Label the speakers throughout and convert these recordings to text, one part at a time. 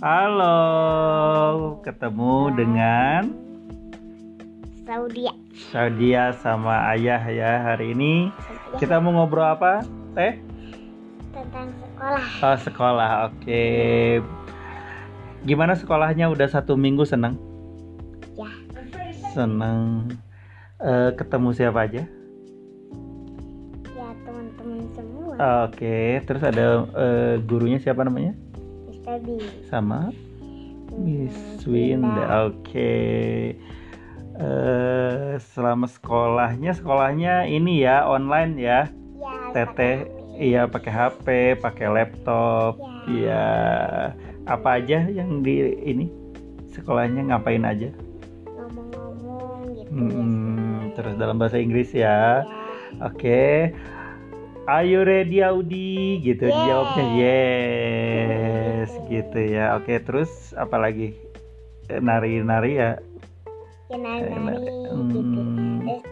Speaker 1: Halo, ketemu Oh, dengan
Speaker 2: Nah. Saudi
Speaker 1: Sadia sama Ayah ya hari ini. Kita mau ngobrol apa? Teh?
Speaker 2: tentang sekolah
Speaker 1: Oh, sekolah. Oke. Gimana sekolahnya? Udah satu minggu seneng?
Speaker 2: Ya.
Speaker 1: Seneng. Eh, ketemu siapa aja?
Speaker 2: ya teman-teman semua
Speaker 1: Oh. Oke. Terus ada eh, gurunya siapa namanya?
Speaker 2: Mr. B
Speaker 1: Sama? Miss Winda, oke. Eh, selama sekolahnya, sekolahnya ini ya online ya.
Speaker 2: ya
Speaker 1: Teteh, iya pakai HP, pakai laptop,
Speaker 2: ya.
Speaker 1: iya. Apa aja yang di ini sekolahnya ngapain aja?
Speaker 2: ngomong-ngomong gitu
Speaker 1: Hmm,
Speaker 2: ya
Speaker 1: terus dalam bahasa Inggris ya. Oke. Are you ready Audi? Gitu
Speaker 2: Yes.
Speaker 1: jawabnya yes
Speaker 2: Gitu.
Speaker 1: gitu ya. Oke, terus apa lagi? Eh, Nari-nari ya.
Speaker 2: ya nari-nari gitu
Speaker 1: Hmm,
Speaker 2: terus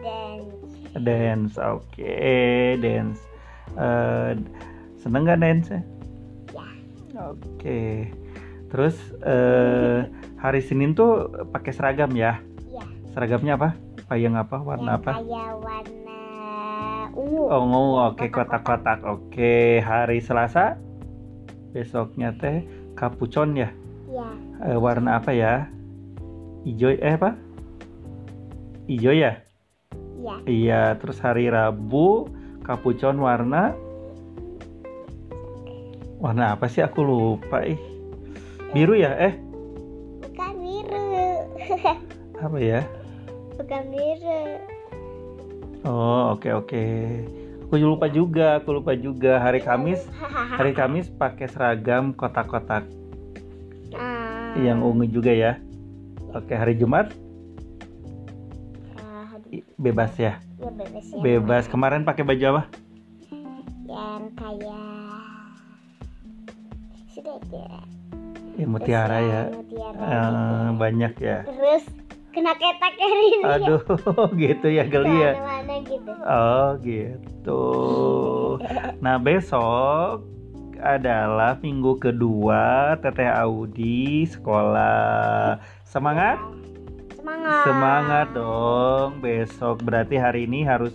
Speaker 2: dance
Speaker 1: dance, oke, dance. Eh, seneng nggak dance? Ya. Oke. Terus eh, hari Senin tuh pakai seragam ya?
Speaker 2: Iya.
Speaker 1: Seragamnya apa? Payung apa? Warna
Speaker 2: yang
Speaker 1: apa?
Speaker 2: kayak warna ungu
Speaker 1: Oh, ungu. Oke, kotak-kotak.
Speaker 2: Kotak-kotak.
Speaker 1: Oke, hari Selasa besoknya teh kapucon ya?
Speaker 2: ya
Speaker 1: Eh, warna apa ya? Ijo eh apa? Ijo ya?
Speaker 2: ya
Speaker 1: Iya, terus hari Rabu kapucon warna warna apa sih aku lupa ih. Biru ya? Eh,
Speaker 2: bukan biru
Speaker 1: apa ya?
Speaker 2: bukan biru
Speaker 1: Oh, oke oke. Aku lupa juga, aku lupa juga. Hari Kamis, hari Kamis pakai seragam kotak-kotak
Speaker 2: Ah,
Speaker 1: yang ungu juga ya. Oke, hari Jumat
Speaker 2: ah, hari-
Speaker 1: i- bebas ya.
Speaker 2: ya bebas ya
Speaker 1: Bebas. Kemarin pakai baju apa?
Speaker 2: yang kayak sudah aja
Speaker 1: Ya mutiara
Speaker 2: Iya.
Speaker 1: ya.
Speaker 2: mutiara
Speaker 1: Eh,
Speaker 2: gitu.
Speaker 1: banyak ya.
Speaker 2: terus kena ketak ya ini
Speaker 1: Aduh, gitu ya geli ya.
Speaker 2: mana gitu
Speaker 1: Oh gitu. Nah besok adalah minggu kedua Teteh Audi sekolah. Semangat?
Speaker 2: semangat
Speaker 1: Semangat dong. Besok berarti hari ini harus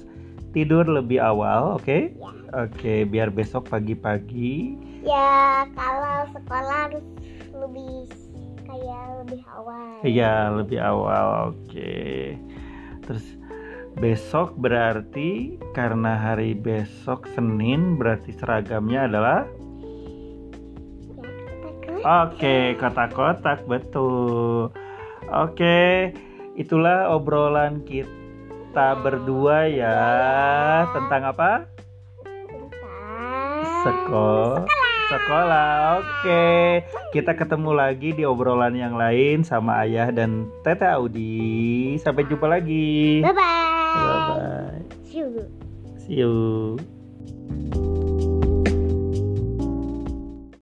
Speaker 1: tidur lebih awal, oke?
Speaker 2: Ya.
Speaker 1: Oke, biar besok pagi-pagi.
Speaker 2: ya kalau sekolah harus lebih kayak lebih awal
Speaker 1: Iya, lebih awal. Oke. Terus besok berarti karena hari besok Senin berarti seragamnya adalah
Speaker 2: ya takut
Speaker 1: Oke, kotak-kotak betul. Oke, itulah obrolan kita berdua ya tentang apa?
Speaker 2: tentang
Speaker 1: Sekolah. Sekolah. Oke, kita ketemu lagi di obrolan yang lain sama Ayah dan Teteh Audi. Sampai jumpa lagi.
Speaker 2: bye bye
Speaker 1: Bye bye.
Speaker 2: see you
Speaker 1: See you.